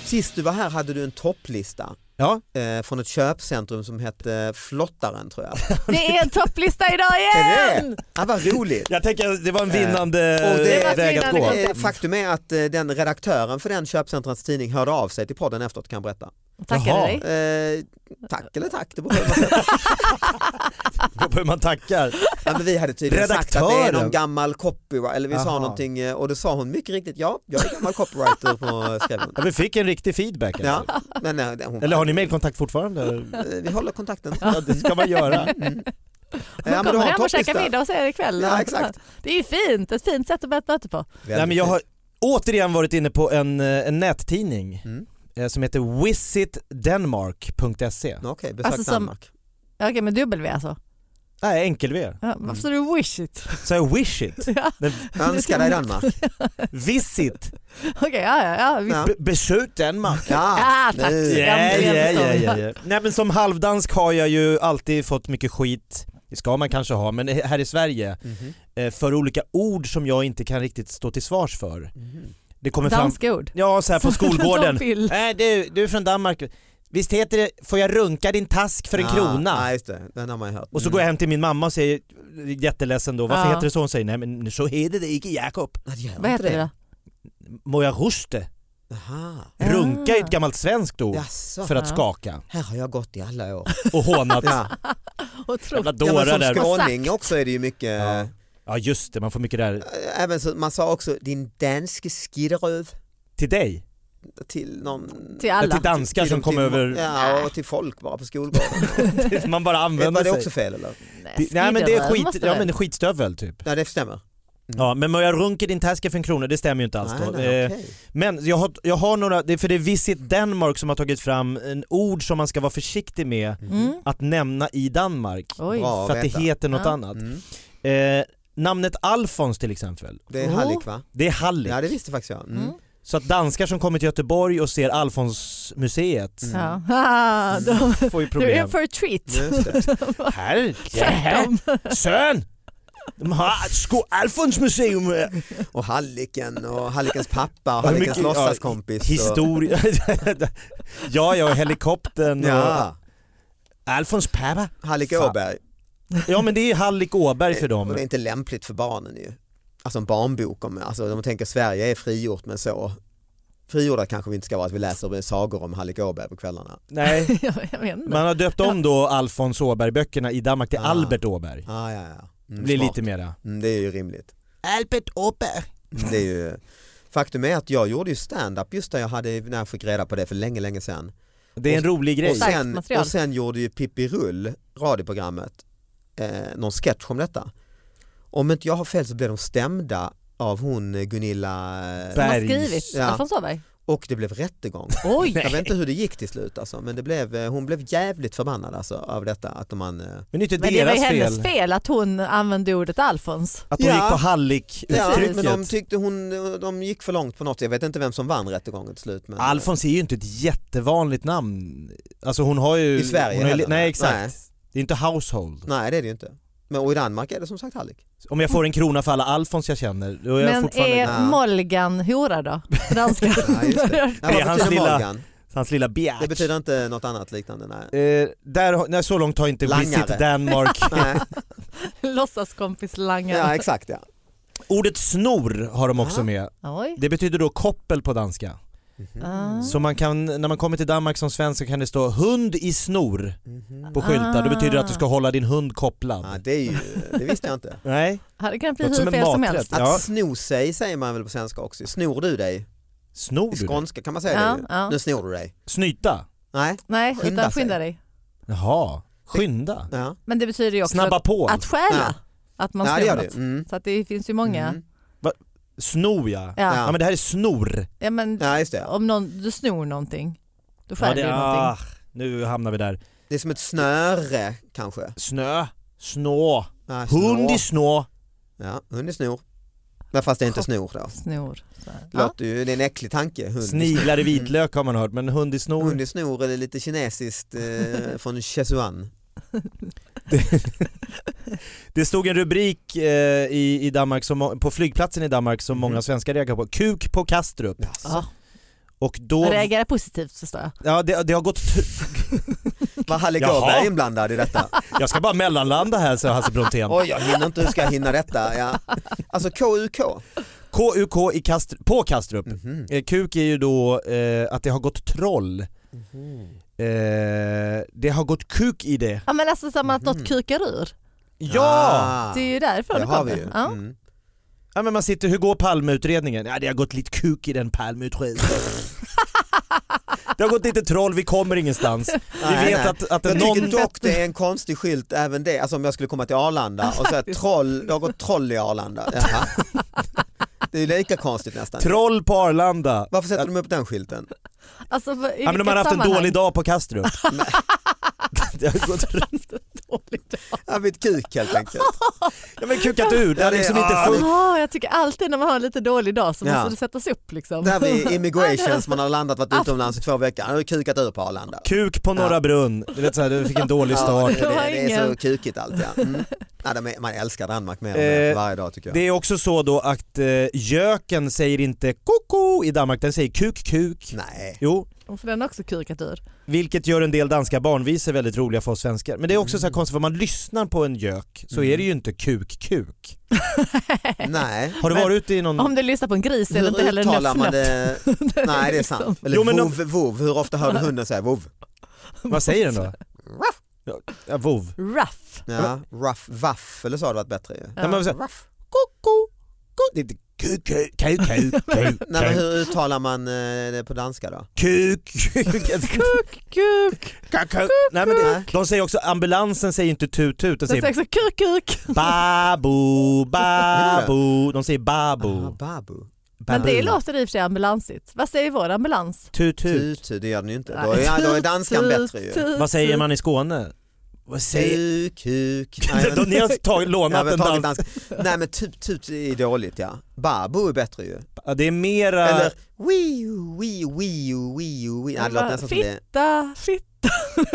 Speaker 3: Sist du var här hade du en topplista
Speaker 5: Ja,
Speaker 3: eh, från ett köpcentrum som hette Flottaren tror jag.
Speaker 2: Det är en topplista idag
Speaker 3: Är det
Speaker 2: igen!
Speaker 3: det? Ja, vad roligt.
Speaker 5: jag tänker att det var en vinnande
Speaker 3: och det-
Speaker 5: eh,
Speaker 3: Det var ett
Speaker 5: väg att
Speaker 2: vinnande
Speaker 5: gå.
Speaker 2: koncept.
Speaker 3: Eh, Faktum är att eh, den redaktören för den köpcentrets tidning hörde av sig till podden efteråt kan jag berätta.
Speaker 2: Tackar
Speaker 5: Jaha.
Speaker 2: dig.
Speaker 3: Eh, tack eller tack, det beror på hur man-
Speaker 5: På hur man tackar.
Speaker 3: ja, men Vi hade tydligen sagt att det är någon
Speaker 5: Redaktören.
Speaker 3: gammal copyright, eller vi sa
Speaker 5: Aha.
Speaker 3: någonting eh, och då sa hon mycket riktigt ja, jag är gammal copywriter på skrev
Speaker 5: Ja, vi fick en riktig feedback. Alltså.
Speaker 3: Ja, men nej, det- hon,
Speaker 5: Eller har ni mailkontakt fortfarande?
Speaker 3: Eh, vi håller kontakten. Mm.
Speaker 5: Ja, det ska man göra. Mm.
Speaker 2: Hon
Speaker 3: Ja, men du
Speaker 2: kommer
Speaker 3: har en
Speaker 2: hem och
Speaker 3: topplista.
Speaker 2: käkar middag hos er ikväll.
Speaker 3: Ja, exakt.
Speaker 2: Det är ju fint, ett fint sätt att börja ett möte på.
Speaker 5: Nej, men jag har återigen varit inne på en, eh, en nättidning
Speaker 3: Mm.
Speaker 5: eh, som heter visitdenmark.se.
Speaker 3: Okej, besök
Speaker 2: Alltså som-
Speaker 3: Danmark.
Speaker 2: Ja, Okej, men W alltså.
Speaker 5: Nej, enkel-V.
Speaker 2: Ja, varför sa du wish it?
Speaker 5: Så jag wish it.
Speaker 2: Ja,
Speaker 5: Men
Speaker 3: Önska dig Danmark.
Speaker 5: Visit,
Speaker 2: Okej, ja, ja, ja. visst.
Speaker 3: Ja.
Speaker 5: Be- besök Danmark.
Speaker 2: Ah, tack.
Speaker 3: nu.
Speaker 2: Ja,
Speaker 5: Yeah,
Speaker 2: äntligen
Speaker 5: yeah,
Speaker 2: förstår
Speaker 5: yeah,
Speaker 2: vi.
Speaker 5: yeah, yeah. Nej men som halvdansk har jag ju alltid fått mycket skit, det ska man kanske ha, men här i Sverige,
Speaker 3: Mhm,
Speaker 5: eh, för olika ord som jag inte kan riktigt stå till svars för.
Speaker 3: mhm.
Speaker 5: Det kommer fram,
Speaker 2: Danska ord.
Speaker 5: ja så här på
Speaker 2: De
Speaker 5: skolgården.
Speaker 2: vill.
Speaker 5: Nej du, du är från Danmark. Visst heter det, får jag runka din task för en
Speaker 3: Ah,
Speaker 5: krona?
Speaker 3: Ja, just det. Den har man ju hört. Mm.
Speaker 5: Och så går jag hem till min mamma och säger, jätteledsen då, varför
Speaker 2: Ja.
Speaker 5: heter det så? Hon säger, nej men så heter det inte Jakob.
Speaker 3: Mm.
Speaker 2: Vad heter det då?
Speaker 5: Må jag ruste?
Speaker 3: Jaha.
Speaker 5: Runka är
Speaker 2: Ah.
Speaker 5: ett gammalt svenskt ord.
Speaker 3: Jaså,
Speaker 5: Oh. För att
Speaker 2: Ja.
Speaker 5: skaka
Speaker 3: här har jag gått i alla år.
Speaker 5: och hånat.
Speaker 3: Ja.
Speaker 5: Jävla
Speaker 2: Otroligt.
Speaker 3: Ja,
Speaker 5: dårar
Speaker 3: men som
Speaker 5: där.
Speaker 3: skåning också är det ju mycket,
Speaker 5: Ja. Ja just det, man får mycket där.
Speaker 3: eh, även så, man sa också din danske skidröv
Speaker 5: Till dig?
Speaker 3: till någon
Speaker 2: Till
Speaker 5: Ja,
Speaker 2: alla.
Speaker 5: till danskar som
Speaker 3: till-
Speaker 5: kom
Speaker 3: till-
Speaker 5: över,
Speaker 3: Ja, och till folk bara på skolgården.
Speaker 5: man bara
Speaker 3: Var
Speaker 5: använder
Speaker 3: det
Speaker 5: sig.
Speaker 3: också fel eller?
Speaker 5: Det- Nej men det är
Speaker 2: skriver,
Speaker 5: skit,
Speaker 2: måste
Speaker 5: ja
Speaker 2: väl.
Speaker 5: men skitstövel typ.
Speaker 3: Nej, det stämmer.
Speaker 5: Ja men må jag runka din tasker för en krona, det stämmer ju inte alls
Speaker 3: Mm. nej,
Speaker 5: då.
Speaker 3: nej,
Speaker 5: Eh,
Speaker 3: okej.
Speaker 5: Men jag har, jag har några, det är för det är Visit Denmark som har tagit fram en ord som man ska vara försiktig med
Speaker 2: Mm.
Speaker 5: att nämna i Danmark.
Speaker 2: Oj.
Speaker 3: Bra. Ja,
Speaker 5: för att det
Speaker 3: vänta.
Speaker 5: heter något
Speaker 2: Ja.
Speaker 5: annat.
Speaker 3: Mm.
Speaker 5: Eh, namnet Alfons till exempel,
Speaker 3: Det är
Speaker 2: Oh.
Speaker 3: Hallik va?
Speaker 5: det är Hallig.
Speaker 3: Ja det visste faktiskt jag. Mm.
Speaker 2: Mm.
Speaker 5: Så att danskar som kommer till Göteborg och ser Alfonsmuseet
Speaker 3: Mm.
Speaker 2: Ja. Ah, de,
Speaker 5: får
Speaker 2: du
Speaker 5: ju
Speaker 2: är
Speaker 5: problem.
Speaker 2: in for a treat.
Speaker 3: Just det.
Speaker 5: Herr,
Speaker 2: Tvärtom.
Speaker 5: Sön! De har sko Alfonsmuseum! eh,
Speaker 3: Och Halliken och Hallikens pappa och
Speaker 5: Hur
Speaker 3: Hallikens
Speaker 5: mycket-
Speaker 3: låtsaskompis. och-
Speaker 5: Historia... ja, ja, helikoptern och
Speaker 3: Ja,
Speaker 5: Alfons pappa.
Speaker 3: Hallik
Speaker 5: Fan.
Speaker 3: Åberg.
Speaker 5: Ja men det är Hallik Åberg för
Speaker 3: Och
Speaker 5: dem.
Speaker 3: det är inte lämpligt för barnen ju. Alltså en barnbok om, alltså de tänker Sverige är frigjort men så. Frigjorda kanske vi inte ska vara, att vi läser sagor om Hallik Åberg på kvällarna.
Speaker 5: Nej,
Speaker 2: jag vet inte.
Speaker 5: man har döpt om då Alfons Åberg-böckerna i Danmark till
Speaker 3: Ah.
Speaker 5: Albert Åberg.
Speaker 3: Ah, ja, ja.
Speaker 5: Det
Speaker 3: Mm,
Speaker 5: blir
Speaker 3: smart.
Speaker 5: lite mera.
Speaker 3: Mm, det är ju rimligt.
Speaker 5: Albert Åberg.
Speaker 3: Mm, Det är ju... Faktum är att jag gjorde ju stand-up just där jag hade, när jag fick reda på det för länge, länge sedan.
Speaker 5: Det är en rolig
Speaker 3: Och
Speaker 5: grej.
Speaker 2: Starkt
Speaker 3: sen,
Speaker 2: material.
Speaker 3: och sen gjorde ju Pippi Rull, radioprogrammet, eh, någon sketch om detta. Om inte jag har fel så blev de stämda av hon eh, Gunilla eh,
Speaker 2: De har
Speaker 5: Bergs.
Speaker 2: skrivit
Speaker 3: Ja.
Speaker 2: Alfons Åberg.
Speaker 3: och det blev rättegång.
Speaker 2: Oj!
Speaker 3: Jag vet inte hur det gick till slut alltså, men det blev, eh, hon blev jävligt förbannad alltså, av detta. Att man, eh,
Speaker 5: Men det är inte
Speaker 2: Men det var ju
Speaker 5: deras
Speaker 2: hennes
Speaker 5: fel
Speaker 2: fel. att hon använde ordet Alfons.
Speaker 5: att de
Speaker 3: Ja.
Speaker 5: gick på
Speaker 3: ja, men de
Speaker 5: Hallik-uttrycket.
Speaker 3: tyckte hon, de gick för långt på något Jag vet inte vem som vann rättegången till slut. Men,
Speaker 5: Alfons är ju inte ett jättevanligt namn. Alltså hon har ju...
Speaker 3: eh, I Sverige
Speaker 5: hon har ju, li-
Speaker 3: heller.
Speaker 5: Nej exakt.
Speaker 3: Nej.
Speaker 5: Det är inte household.
Speaker 3: Nej det är det ju inte. Men och i Danmark är det som sagt Hallik.
Speaker 5: Om jag får en krona för alla Alfons jag känner, då är jag
Speaker 2: Men
Speaker 5: fortfarande
Speaker 2: är
Speaker 3: Ja.
Speaker 2: Molgan hora då? Danska.
Speaker 3: Ja, just det.
Speaker 5: Det är
Speaker 3: vad
Speaker 5: hans
Speaker 3: betyder
Speaker 5: lilla-
Speaker 3: Morgan?
Speaker 5: hans lilla bjärt.
Speaker 3: Det betyder inte något annat liknande. Nej.
Speaker 5: Eh, där, har- nej, så långt har inte
Speaker 3: Langare.
Speaker 5: Visit Danmark.
Speaker 3: Nej.
Speaker 2: Låtsaskompis
Speaker 3: Ja
Speaker 2: Langan.
Speaker 3: exakt ja.
Speaker 5: Ordet snor har de också
Speaker 3: Ah.
Speaker 5: med.
Speaker 2: Oj.
Speaker 5: Det betyder då koppel på danska.
Speaker 2: Ah.
Speaker 5: Så man kan, när man kommer till Danmark som svensk så kan det stå hund i snor
Speaker 3: Mhm.
Speaker 5: på skyltar. Det betyder att du
Speaker 2: Ah.
Speaker 5: ska hålla din hund kopplad.
Speaker 3: Ja, det, är ju, det visste jag inte.
Speaker 5: Nej,
Speaker 2: Hade kunnat bli
Speaker 5: Låter som
Speaker 2: hur
Speaker 5: en
Speaker 2: fel som
Speaker 5: maträtt.
Speaker 2: helst.
Speaker 3: Att
Speaker 5: Ja.
Speaker 3: sno sig säger man väl på svenska också. Snor du dig?
Speaker 5: snor
Speaker 3: I
Speaker 5: du? det?
Speaker 3: skånska kan man säga
Speaker 2: Ja,
Speaker 3: det ju.
Speaker 2: ja.
Speaker 3: Nu snor du dig.
Speaker 5: Snyta?
Speaker 3: Nej.
Speaker 2: Nej,
Speaker 3: Skynda
Speaker 2: utan
Speaker 3: sig.
Speaker 2: skynda dig.
Speaker 5: Jaha, skynda?
Speaker 3: Ja.
Speaker 2: Men det betyder ju också
Speaker 5: Snabba på?
Speaker 2: att stjäla. Att man
Speaker 3: ja det
Speaker 2: snor
Speaker 3: gör du.
Speaker 2: något.
Speaker 3: Mm.
Speaker 2: Så att det finns ju många.
Speaker 3: Mm.
Speaker 5: Snor ja. ja.
Speaker 2: Ja.
Speaker 3: Ja.
Speaker 2: Ja.
Speaker 5: men det här är snor.
Speaker 2: men
Speaker 3: Ja, just det.
Speaker 2: om någon, du snor någonting, du
Speaker 5: Ja,
Speaker 2: stjäl
Speaker 5: det,
Speaker 2: ju någonting.
Speaker 5: ah, nu hamnar vi där.
Speaker 3: Det är som ett snöre kanske.
Speaker 5: Snö, snå,
Speaker 3: Nej,
Speaker 5: hund
Speaker 3: snor.
Speaker 5: i snå.
Speaker 3: Ja, hund i snor. Men fast det är inte snor då.
Speaker 2: Snor. Så här. Ja.
Speaker 3: Låter ju, det är en äcklig tanke. Hund i snor.
Speaker 5: Sniglar i vitlök har man hört, men hund i snor.
Speaker 3: Hund i snor eller lite kinesiskt eh, från Chesuan.
Speaker 5: Det stod en rubrik eh, i, i Danmark som, på flygplatsen i Danmark som
Speaker 3: Mhm.
Speaker 5: många svenskar reagerar på. Kuk på Kastrup.
Speaker 3: Jaså.
Speaker 2: Ja.
Speaker 5: Och då...
Speaker 2: Jag reagerar positivt förstår jag.
Speaker 5: Ja, det, det har gått... tr-
Speaker 3: Var Halle
Speaker 5: Jaha.
Speaker 3: Gåberg inblandad i detta?
Speaker 5: Jag ska bara mellanlanda här, sa Hasse Brontén.
Speaker 3: Oj, jag hinner inte, hur ska jag hinna detta? Ja. Alltså KUK.
Speaker 5: KUK i Kastrup, på Kastrup.
Speaker 3: Mhm.
Speaker 5: Eh, Kuk är ju då eh, att det har gått troll. Eh, det har gått kuk i det.
Speaker 2: Ja men alltså som att
Speaker 3: Mhm.
Speaker 2: något kukar ur.
Speaker 5: Ja!
Speaker 3: Ah,
Speaker 2: Det är ju därifrån
Speaker 3: det
Speaker 2: det
Speaker 3: har
Speaker 2: kommer.
Speaker 3: vi ju.
Speaker 2: Ja.
Speaker 3: Mm.
Speaker 5: Ja men man sitter, hur går Palmeutredningen? Ja det har gått lite kuk i den Palmeutredningen. det har gått lite troll, vi kommer ingenstans. Vi
Speaker 3: Nej,
Speaker 5: vet
Speaker 3: nej.
Speaker 5: att, att
Speaker 3: Jag
Speaker 5: någon...
Speaker 3: tycker dock det är en konstig skylt även det, alltså om jag skulle komma till Arlanda och säga troll, det har gått troll i Arlanda. Jaha. Det är ju lika konstigt nästan.
Speaker 5: Troll på Arlanda.
Speaker 3: Varför sätter de upp den skylten?
Speaker 2: Alltså, för- i
Speaker 5: Ja men de har haft en dålig dag på Kastrup.
Speaker 3: Nej.
Speaker 5: det har gått...
Speaker 3: Ja, vid ett kuk helt enkelt.
Speaker 5: Ja men kukat ur, det
Speaker 3: Ja,
Speaker 5: har
Speaker 3: det-
Speaker 5: liksom inte
Speaker 3: ah,
Speaker 5: funnits.
Speaker 2: Jaha, jag tycker alltid när man har en lite dålig dag så
Speaker 3: Ja.
Speaker 2: måste det sättas upp liksom.
Speaker 3: Där vid immigrations, man har landat, varit utomlands i två veckor, han har kukat ur på Arlanda.
Speaker 5: Kuk på Norra Brunn, du vet såhär, du fick en dålig
Speaker 3: Ja,
Speaker 5: start.
Speaker 3: det, det,
Speaker 2: har
Speaker 3: det är så
Speaker 2: ingen-
Speaker 3: kukigt allt ja. Mm. ja de är, man älskar Danmark mer och mer
Speaker 5: Eh,
Speaker 3: för varje dag tycker jag.
Speaker 5: Det är också så då att eh, göken säger inte koko i Danmark, den säger kuk kuk.
Speaker 3: Nej.
Speaker 5: Jo,
Speaker 2: Och För den har också kukat ur.
Speaker 5: Vilket gör en del danska barnvisor väldigt roliga för oss svenskar. Men det är också så här konstigt, för man lyssnar på en gök så
Speaker 3: Mm.
Speaker 5: är det ju inte kuk-kuk.
Speaker 3: Nej.
Speaker 5: Har du
Speaker 2: Men-
Speaker 5: varit ute i någon...
Speaker 2: Om du lyssnar på en gris är det inte
Speaker 3: Mm. Hur
Speaker 2: heller
Speaker 3: uttalar man
Speaker 2: nöff-nöff.
Speaker 3: det? Nej det är sant. Eller
Speaker 5: Jo, men de-
Speaker 3: vov, vov. Hur ofta hör du hunden säga vov?
Speaker 5: Vad säger den då? Ja, Ja, vov.
Speaker 2: Ruff.
Speaker 3: Ja, ruff, vaff eller så hade varit bättre ju.
Speaker 5: Nej, men så här,
Speaker 3: Ruff.
Speaker 5: koko, ko- Det är inte kuk-kuk, kuk-kuk,
Speaker 3: Nej, men
Speaker 5: kuk-kuk,
Speaker 3: hur uttalar man eh, det på danska då?
Speaker 5: kuk-kuk.
Speaker 2: Kuk, kuk.
Speaker 5: kuk-kuk. Nej men det, de säger också, ambulansen säger inte tut-tut, den
Speaker 2: Den säger
Speaker 5: säger
Speaker 2: också kuk, kuk.
Speaker 5: babo, babo. De säger
Speaker 3: Ah,
Speaker 5: babo.
Speaker 3: babu.
Speaker 2: Men det
Speaker 5: babu.
Speaker 2: låter i och för sig ambulansigt. Vad säger vår ambulans?
Speaker 5: Tut-tut.
Speaker 3: Tutu, det gör den ju inte.
Speaker 2: Nej.
Speaker 3: Då är, ja, då är danskan
Speaker 2: Tut,
Speaker 3: bättre ju.
Speaker 2: tut,
Speaker 5: Vad säger
Speaker 2: tut.
Speaker 5: man i Skåne? Vad säger...
Speaker 3: Kuk, kuk. Nej, men-
Speaker 5: Ni har tagit,
Speaker 3: Ja,
Speaker 5: lånat
Speaker 3: men
Speaker 5: en
Speaker 3: tagit
Speaker 5: dans...
Speaker 3: dansk. Nej men tut, tut är dåligt ja. Babu är bättre ju.
Speaker 5: Ja, det är mera...
Speaker 3: Eller wiu, wiu, wiu, wiu, wiu. Nej, det låter nästan som det.
Speaker 2: Fitta, fitta.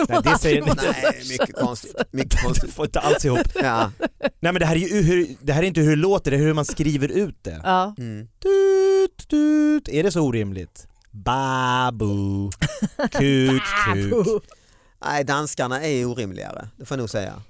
Speaker 5: Nej, det säger ni inte.
Speaker 3: Nej, mycket konstigt. Mycket
Speaker 5: Det
Speaker 3: konstigt.
Speaker 5: får inte alls ihop.
Speaker 3: Ja.
Speaker 5: Nej men det här är ju hur, det här är inte hur det låter, det är hur man skriver ut det.
Speaker 2: Ja.
Speaker 3: Mm.
Speaker 5: Tut, tut. Är det så orimligt? Babu, kuk, kuk.
Speaker 3: Nej, danskarna är orimligare. Det får jag nog säga.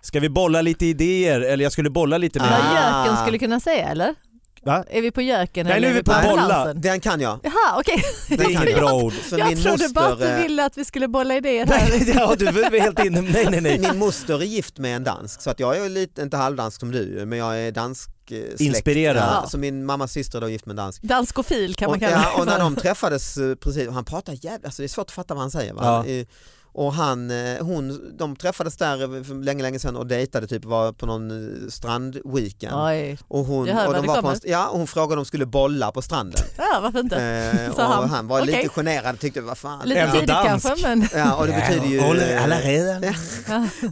Speaker 5: Ska vi bolla lite idéer? Eller jag skulle bolla lite
Speaker 2: Vad
Speaker 5: mer.
Speaker 3: Ah.
Speaker 2: göken skulle kunna säga eller?
Speaker 5: Va?
Speaker 2: Är vi på göken
Speaker 5: Nej,
Speaker 2: eller
Speaker 5: nu är vi på bolla.
Speaker 2: ambulansen?
Speaker 3: Den kan jag.
Speaker 2: Jaha okej,
Speaker 5: Det är inget bra ord.
Speaker 3: För
Speaker 2: jag
Speaker 3: min
Speaker 2: trodde bara att
Speaker 3: moster,
Speaker 2: du
Speaker 3: eh,
Speaker 2: ville att vi skulle bolla idéer här.
Speaker 5: Nej, ja, du är helt inne. Nej, nej, nej.
Speaker 3: Min moster är gift med en dansk så att jag är lite, inte halvdansk som du men jag är dansk eh, släkt.
Speaker 5: Inspirerad.
Speaker 3: Ja, så min mammas syster är då gift med en dansk.
Speaker 2: Danskofil kan man
Speaker 3: Och,
Speaker 2: kalla
Speaker 3: ja, och när
Speaker 2: det.
Speaker 3: de träffades eh, precis, han pratar jävligt, alltså det är svårt att fatta vad han säger. Va?
Speaker 5: Ja.
Speaker 3: Eh, Och han, eh, hon, de träffades där för länge, länge sedan och dejtade, typ var på någon eh, strandweekend.
Speaker 2: Oj,
Speaker 3: Och hon,
Speaker 2: Jag hör
Speaker 3: och
Speaker 2: vad
Speaker 3: de
Speaker 2: det
Speaker 3: var på
Speaker 2: kommer.
Speaker 3: en, st- ja, och hon frågade om de skulle bolla på stranden.
Speaker 2: ja varför inte?
Speaker 3: Eh, och
Speaker 2: Sa han.
Speaker 3: han, var
Speaker 2: Okej.
Speaker 3: lite generad tyckte vad fan.
Speaker 2: Lite
Speaker 5: Ändå
Speaker 2: tidigt
Speaker 5: dansk.
Speaker 2: kanske men
Speaker 3: Ja, och det betyder ju,
Speaker 5: Alla redan.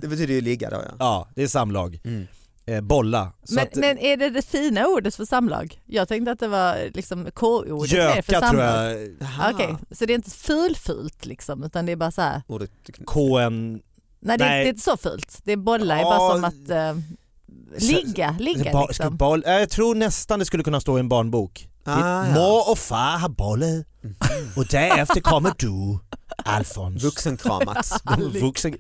Speaker 3: det betyder ju ligga då ja.
Speaker 5: Ja, det är samlag.
Speaker 3: Mm.
Speaker 5: Eh, bolla. Så
Speaker 2: Men,
Speaker 5: att,
Speaker 2: men är det det fina ordet för samlag? Jag tänkte att det var liksom K-ordet mer för
Speaker 5: göka tror
Speaker 2: samlag.
Speaker 5: jag.
Speaker 3: Jaha.
Speaker 2: Okej, så det är inte fulfult liksom utan det är bara så här.
Speaker 3: Ordet
Speaker 5: KN...
Speaker 2: Nej, det är,
Speaker 5: Nej.
Speaker 2: det är inte så fult. Det är bolla, det är
Speaker 5: Ja.
Speaker 2: bara som att eh, ligga, ligga
Speaker 5: Ba, ska
Speaker 2: liksom.
Speaker 5: boll, eh, jag tror nästan det skulle kunna stå i en barnbok.
Speaker 3: Ah,
Speaker 5: Ditt
Speaker 3: ja.
Speaker 5: Mor och far har bollat och därefter kommer du, Alfons.
Speaker 3: vuxenkramats.
Speaker 5: Vuxen,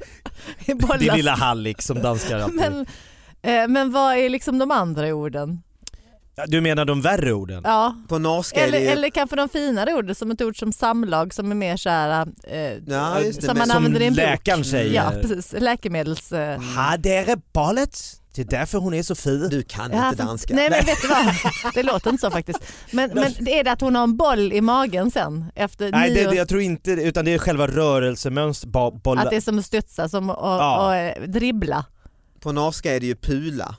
Speaker 5: din
Speaker 2: Bolla.
Speaker 5: lilla hallick som danskar alltid.
Speaker 2: Men, eh, men vad är liksom de andra orden?
Speaker 5: Ja, Du menar de värre orden?
Speaker 2: Ja.
Speaker 3: På norska är
Speaker 2: Eller,
Speaker 3: det ju...
Speaker 2: eller kanske de finare orden som ett ord som samlag som är mer så här, eh,
Speaker 3: Ja, just det,
Speaker 2: som
Speaker 3: men-
Speaker 2: man använder i en bok.
Speaker 5: läkaren säger.
Speaker 2: Ja, precis. Läkemedels... Eh,
Speaker 5: Har dere bollat? Det är därför hon är så fin.
Speaker 3: Du kan
Speaker 2: Ja,
Speaker 3: inte
Speaker 2: fast-
Speaker 3: danska.
Speaker 2: Nej men vet du vad, det låter inte så faktiskt. Men, men det är det att hon har en boll i magen sen efter
Speaker 5: Nej
Speaker 2: nio
Speaker 5: det, det, jag tror inte det, utan det är själva rörelsemönstret. Ba, bolla.
Speaker 2: Att det är som att studsa som och,
Speaker 5: Ja.
Speaker 2: och, eh, dribbla.
Speaker 3: På norska är det ju pula.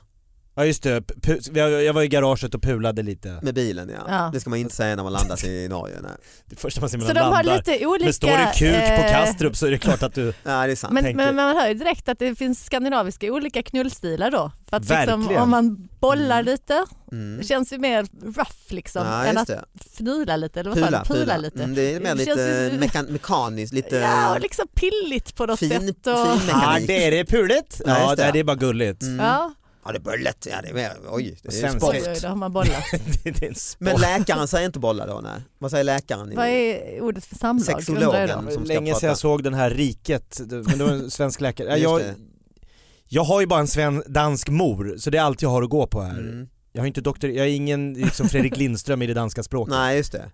Speaker 5: Ja just det, Pu- jag jag var i garaget och pulade lite.
Speaker 3: Med bilen ja.
Speaker 2: Ja.
Speaker 3: Det ska man inte säga när man landat i Norge. Nej,
Speaker 5: Det första man ser när
Speaker 2: Så
Speaker 5: man
Speaker 2: de har
Speaker 5: landar.
Speaker 2: lite olika...
Speaker 5: Men står det kuk på
Speaker 2: eh,
Speaker 5: Kastrup så är det klart att du...
Speaker 3: nej det är sant.
Speaker 2: Men, men
Speaker 5: tänker-
Speaker 2: men man hör ju direkt att det finns skandinaviska olika knullstilar då. För att liksom,
Speaker 5: Verkligen.
Speaker 2: om man bollar
Speaker 3: Mm.
Speaker 2: lite
Speaker 3: Mm.
Speaker 2: det känns ju mer rough liksom
Speaker 3: Ja,
Speaker 2: än
Speaker 3: just
Speaker 2: att
Speaker 3: det.
Speaker 2: fnula lite eller vad sa du? Pula, lite.
Speaker 3: Mm, det är mer
Speaker 2: Det
Speaker 3: lite
Speaker 2: känns ju-
Speaker 3: mekan- mekaniskt, lite
Speaker 2: Ja, och liksom pilligt på något
Speaker 3: fin, fin
Speaker 2: sätt. Och,
Speaker 3: mekanik.
Speaker 5: Ja, det är det pulet.
Speaker 3: Ja,
Speaker 5: Ja,
Speaker 3: just det.
Speaker 5: det är bara gulligt.
Speaker 3: Mm. Ja.
Speaker 2: ja,
Speaker 3: det är bullet. Ja, det är mer, oj, det är ju
Speaker 5: Svenska.
Speaker 3: sport.
Speaker 2: oj, oj, då har man bollat.
Speaker 5: det är en sport.
Speaker 3: Men läkaren säger inte bolla då, nej. Vad säger läkaren?
Speaker 2: vad är ordet för samlag?
Speaker 3: Sexologen.
Speaker 2: undrar jag
Speaker 5: Det
Speaker 2: då.
Speaker 5: var
Speaker 3: som ska
Speaker 5: länge
Speaker 3: prata.
Speaker 5: sedan jag såg den här Riket, men det var en svensk läkare. Ja,
Speaker 3: Just
Speaker 5: Jag,
Speaker 3: det.
Speaker 5: jag har ju bara en sven, dansk mor, så det är allt jag har att gå på här.
Speaker 3: Mm.
Speaker 5: Jag, har inte doktor, jag är ingen liksom Fredrik Lindström i det danska språket,
Speaker 3: Nej, just det.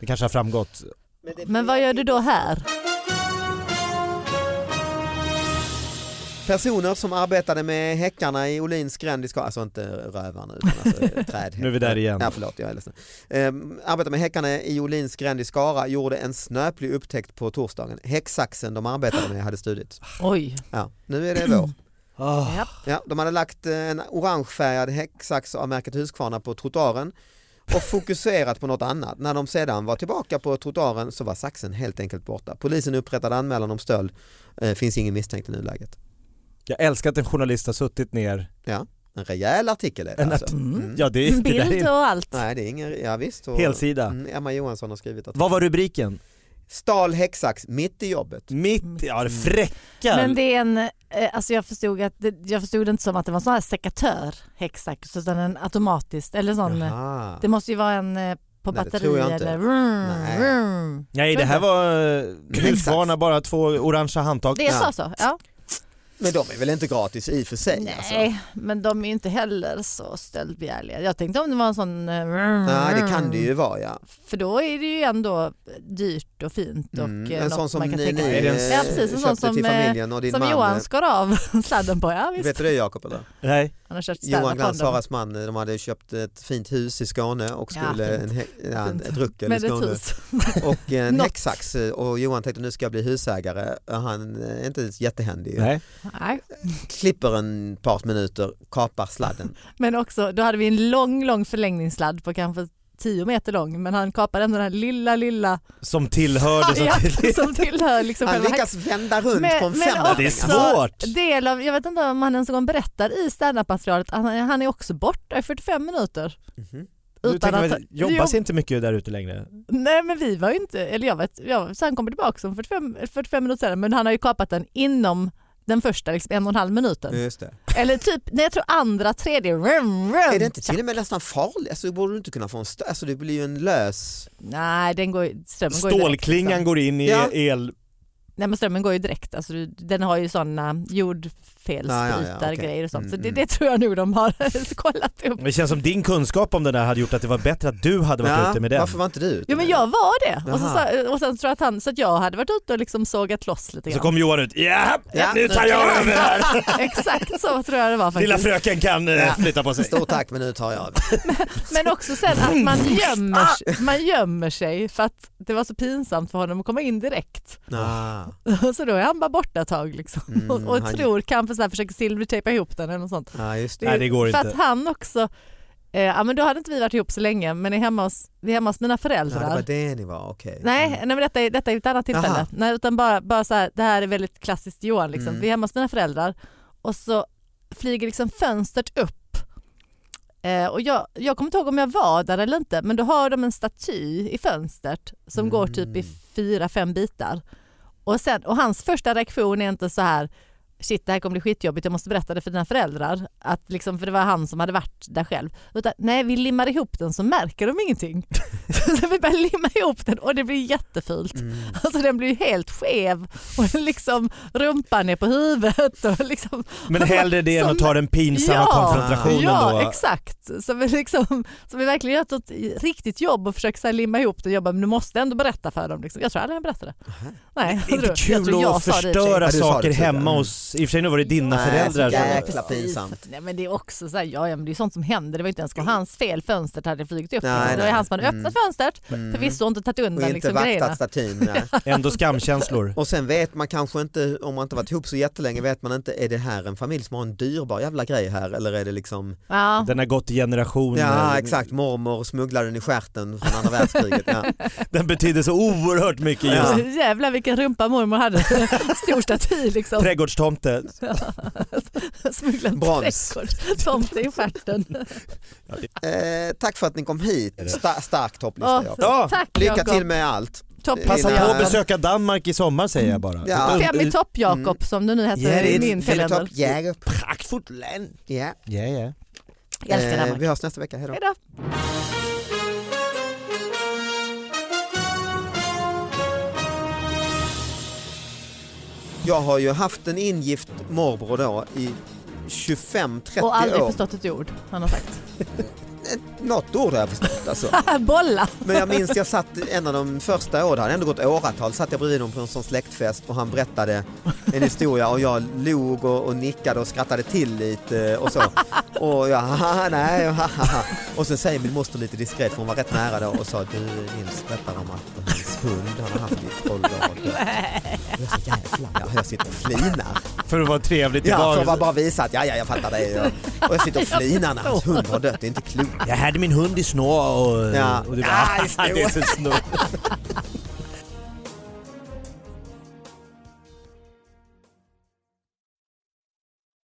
Speaker 5: det kanske har framgått.
Speaker 2: Men vad gör du då här?
Speaker 3: Personer som arbetade med häckarna i Olins gränd i Skara, alltså inte rövarna utan alltså trädhäckar.
Speaker 5: Nu är vi där igen.
Speaker 3: Ja, förlåt, jag är ledsen. Ehm, arbetade med häckarna i Olins gränd i Skara gjorde en snöplig upptäckt på torsdagen. Häcksaxen de arbetade med hade stulit.
Speaker 2: Oj.
Speaker 3: Ja, nu är det vår.
Speaker 5: Ah,
Speaker 2: Ja.
Speaker 3: Ja, de hade lagt eh, en orangefärgad häcksax av märket Husqvarna på trottoaren och fokuserat på något annat. När de sedan var tillbaka på trottoaren så var saxen helt enkelt borta. Polisen upprättade anmälan om stöld. Eh, finns ingen misstänkt i nuläget.
Speaker 5: jag älskar att en journalist har suttit
Speaker 3: Mm.
Speaker 5: ner.
Speaker 3: En rejäl artikel är det
Speaker 5: En
Speaker 3: alltså.
Speaker 2: Mm.
Speaker 3: Mm.
Speaker 5: Ja, det, är- det där
Speaker 2: Bild
Speaker 5: är
Speaker 2: och allt.
Speaker 3: Nej, det är ingen, ja visst. Och,
Speaker 5: helsida.
Speaker 3: Mm, Emma Johansson har skrivit att
Speaker 5: Vad var rubriken?
Speaker 3: stal häcksax mitt i jobbet.
Speaker 5: Mitt, ja det fräcka.
Speaker 2: Men det är en, eh, alltså jag förstod, att det, jag förstod det inte som att det var en sån här sekatör, häcksax, utan en automatisk, eller sån, eh,
Speaker 3: Jaha.
Speaker 2: det måste ju vara en eh, på
Speaker 3: Nej, det
Speaker 2: batteri
Speaker 3: tror jag inte.
Speaker 2: eller vroom,
Speaker 3: Nej.
Speaker 2: vroom.
Speaker 5: Nej det här var eh, Husqvarna,
Speaker 3: Exakt.
Speaker 5: bara två orangea handtag.
Speaker 2: Det sa så, ja.
Speaker 3: Men de är väl inte gratis i och för sig? Alltså.
Speaker 2: Nej, men de är ju inte heller så stöldbegärliga. Jag tänkte om det var en sån... eh, vroom,
Speaker 3: Nej, det kan
Speaker 2: vroom.
Speaker 3: det ju vara ja.
Speaker 2: För då är det ju ändå dyrt och fint och
Speaker 3: Mm,
Speaker 2: eh,
Speaker 3: En
Speaker 2: något
Speaker 3: sån som
Speaker 2: man kan
Speaker 3: ni,
Speaker 2: tänka
Speaker 3: ni
Speaker 5: Är det en-
Speaker 3: eh,
Speaker 2: Ja, precis, en sån
Speaker 3: köpte
Speaker 2: som,
Speaker 3: till
Speaker 2: eh,
Speaker 3: familjen och din
Speaker 2: Som
Speaker 3: man.
Speaker 2: Johan
Speaker 3: eh,
Speaker 2: skar av sladden på, ja visst.
Speaker 3: Vet du det Jakob eller?
Speaker 5: Nej.
Speaker 2: Han har köpt städat
Speaker 3: Johan
Speaker 2: på
Speaker 3: Glans,
Speaker 2: dem.
Speaker 3: Saras man, de hade köpt ett fint hus i Skåne och
Speaker 2: Ja,
Speaker 3: skulle en, hä- ja, en,
Speaker 2: Fint.
Speaker 3: ett ruckel i
Speaker 2: Med ett
Speaker 3: Skåne
Speaker 2: hus.
Speaker 3: och en
Speaker 2: Något.
Speaker 3: häcksax eh, och Johan tänkte nu ska jag bli husägare. Han är inte jättehändig.
Speaker 5: Nej.
Speaker 2: Nej.
Speaker 3: Klipper en par minuter, kapar sladden.
Speaker 2: Men också, då hade vi en lång, lång förlängningssladd på kanske 10 meter lång, men han kapade ändå den här lilla, lilla
Speaker 5: Som tillhörde så
Speaker 2: Ja,
Speaker 5: till...
Speaker 2: som tillhör liksom
Speaker 3: Han
Speaker 2: själva
Speaker 3: lyckas vända runt
Speaker 2: Men-
Speaker 3: på en
Speaker 2: men
Speaker 3: femöring.
Speaker 5: Det är
Speaker 3: alltså.
Speaker 5: svårt!
Speaker 2: del av, jag vet inte om han ens en gång berättar i standup-materialet, att han, han är också borta i 45 minuter.
Speaker 3: Mhm.
Speaker 5: Nu
Speaker 2: Utan
Speaker 5: tänker
Speaker 2: att,
Speaker 5: man, jobbas inte mycket där ute längre?
Speaker 2: nej men vi var ju inte, eller jag vet, jag, så han kommer tillbaka om 45, 45 minuter senare men han har ju kapat den inom den första liksom en och en halv minuten.
Speaker 3: Just det.
Speaker 2: Eller typ, nej jag tror andra, tredje, rum, rum.
Speaker 3: Är det inte till och med nästan farligt? Alltså, borde du inte kunna få en stö- alltså, det blir ju en lös...
Speaker 2: Nej den går ju- strömmen går ju direkt,
Speaker 5: Stålklingan
Speaker 2: liksom.
Speaker 5: går in i
Speaker 3: Ja.
Speaker 5: el...
Speaker 2: Nej men strömmen går ju direkt, alltså, du- den har ju sådana
Speaker 3: Ja,
Speaker 2: jordfelsbrytar
Speaker 3: ja, ja, okej.
Speaker 2: grejer och sånt. så
Speaker 3: Mm,
Speaker 2: det,
Speaker 3: mm.
Speaker 2: det tror jag nu de har kollat upp.
Speaker 5: Det känns som din kunskap om det där hade gjort att det var bättre att du hade varit
Speaker 3: Ja,
Speaker 5: ute med den.
Speaker 3: Varför var inte du ute
Speaker 2: Jo men
Speaker 3: med
Speaker 2: jag var det. Och, så,
Speaker 3: Jaha.
Speaker 2: sa- och sen tror jag att han, så att jag hade varit ute och liksom sågat loss lite
Speaker 5: Så
Speaker 2: grann.
Speaker 5: kom Johan ut, ja,
Speaker 3: Ja,
Speaker 5: nu tar jag över här!
Speaker 2: Exakt så tror jag det var
Speaker 5: Lilla
Speaker 2: faktiskt.
Speaker 5: fröken kan eh,
Speaker 3: Ja.
Speaker 5: flytta på
Speaker 3: det?
Speaker 5: sig.
Speaker 3: Stort tack men nu tar jag över.
Speaker 2: Men också sen att man gömmer, man gömmer sig för att det var så pinsamt för honom att komma in direkt.
Speaker 3: Ah.
Speaker 2: Så då är han bara borta ett tag liksom.
Speaker 3: Mm,
Speaker 2: och och
Speaker 3: han-
Speaker 2: tror kanske så här, försöker silvertejpa ihop den eller något sånt.
Speaker 3: Ja, just det.
Speaker 5: Nej det går
Speaker 2: För
Speaker 5: inte.
Speaker 2: att han också, eh, ja men då hade inte vi varit ihop så länge men är hemma hos, vi är hemma hos mina
Speaker 3: Ja,
Speaker 2: föräldrar.
Speaker 3: det var det ni var, okej.
Speaker 2: Nej,
Speaker 3: Mm.
Speaker 2: nej men detta, är- detta är ett annat tillfälle.
Speaker 3: Jaha.
Speaker 2: Nej, utan bara, bara så här, det här är väldigt klassiskt Johan. Liksom.
Speaker 3: Mm.
Speaker 2: Vi är hemma hos mina föräldrar och så flyger liksom fönstret upp. Eh, och jag, jag kommer inte ihåg om jag var där eller inte men då har de en staty i fönstret som går typ i
Speaker 3: Mm.
Speaker 2: fyra, fem bitar. Och, sen, och hans första reaktion är inte så här shit det här kommer bli skitjobbigt jag måste berätta det för dina föräldrar. Att liksom, för det var han som hade varit där själv. Utan, nej vi limmar ihop den så märker de ingenting. så vi börjar limma ihop den och det blir jättefult.
Speaker 3: Mm.
Speaker 2: Alltså den blir ju helt skev och liksom rumpan är på huvudet. Och liksom,
Speaker 5: Men hellre det än att ta den pinsamma
Speaker 2: Ja,
Speaker 5: konfrontationen
Speaker 2: ja
Speaker 5: då.
Speaker 2: exakt. Så vi, liksom, så vi verkligen gör ett sånt riktigt jobb och försöker så här limma ihop det och jobba men du måste ändå berätta för dem. Liksom. Jag tror aldrig han berättade. Nej,
Speaker 5: Det är
Speaker 2: jag
Speaker 5: inte
Speaker 2: tror- jag tror
Speaker 5: kul
Speaker 2: jag
Speaker 5: att
Speaker 2: sa det i och för sig.
Speaker 5: förstöra
Speaker 3: Ja, du sa det
Speaker 5: saker
Speaker 3: tidigare.
Speaker 5: hemma
Speaker 3: Mm.
Speaker 5: hos oss. I och för sig nu var det dina
Speaker 3: Nej,
Speaker 5: föräldrar.
Speaker 3: så
Speaker 5: som-
Speaker 3: jävla pinsamt. Mm.
Speaker 2: Nej, men det är också så här, ja, ja, men det är ju sånt som händer. Det var inte ens hans fel. Fönstret hade flugit upp.
Speaker 3: Nej,
Speaker 2: det var
Speaker 3: nej.
Speaker 2: ju han som hade öppnat
Speaker 3: Mm.
Speaker 2: fönstret.
Speaker 3: Mm.
Speaker 2: Förvisso inte tagit
Speaker 3: Och
Speaker 2: undan
Speaker 3: inte
Speaker 2: liksom, grejerna.
Speaker 3: vaktat statyn. Nej.
Speaker 5: Ändå skamkänslor.
Speaker 3: Och sen vet man kanske inte, om man inte varit ihop så jättelänge, vet man inte, är det här en familj som har en dyrbar jävla grej här eller är det liksom,
Speaker 2: Ja.
Speaker 5: Den har gått i generationer.
Speaker 3: ja exakt, mormor smugglade den i stjärten från andra världskriget. Ja.
Speaker 5: Den betyder så oerhört mycket just.
Speaker 3: Ja.
Speaker 2: Jävlar vilken rumpa mormor hade. Stor staty liksom.
Speaker 5: Trädgårdstomte.
Speaker 2: Smugglad
Speaker 3: Brons.
Speaker 2: trädgård. Tomte i stjärten.
Speaker 3: Eh, tack för att ni kom hit, Sta- stark topplista.
Speaker 2: Åh,
Speaker 3: Jakob.
Speaker 5: Ja,
Speaker 2: Tack
Speaker 3: Lycka
Speaker 2: Jakob.
Speaker 3: till med allt.
Speaker 2: Topp-
Speaker 5: Passa
Speaker 3: Innan-
Speaker 5: på att besöka Danmark i sommar säger jag bara.
Speaker 3: Ja.
Speaker 2: Fem i topp Jakob som du nu heter
Speaker 5: Ja, det är
Speaker 2: i
Speaker 5: ett
Speaker 2: eh, min kalender.
Speaker 3: Topp, Jäger.
Speaker 5: Praktfullt land.
Speaker 3: Ja.
Speaker 5: Ja, ja.
Speaker 2: Jag älskar
Speaker 3: Eh,
Speaker 2: Danmark.
Speaker 3: Vi hörs nästa vecka, hejdå.
Speaker 2: Hejdå.
Speaker 3: Jag har ju haft en ingift morbror då i 25-30
Speaker 2: Och aldrig
Speaker 3: år.
Speaker 2: förstått ett ord han har sagt.
Speaker 3: Något ord har jag förstått alltså.
Speaker 2: Bolla!
Speaker 3: Men jag minns jag satt en av de första åren, det hade ändå gått åratal, satt jag bredvid honom på en sån släktfest och han berättade en historia och jag log och, och nickade och skrattade till lite och så. Och jag, haha, nej, och haha. Och sen säger min moster lite diskret, för hon var rätt nära då och sa, du Nils berättar om att hans hund han har haft i 12 år och dött." Och jag sa, jävlar, ja, jag sitter och flinar.
Speaker 5: För att vara trevligt
Speaker 3: Ja, för
Speaker 5: idag.
Speaker 3: att bara visa att, ja, ja, jag fattar dig. Och- Och jag sitter och flinar när hans hund har dött, det är inte klokt.
Speaker 5: Jag hade min hund i snå och...
Speaker 3: Ja.
Speaker 5: och det,
Speaker 3: Ja,
Speaker 5: bara,
Speaker 3: i snå.
Speaker 5: det är så snå.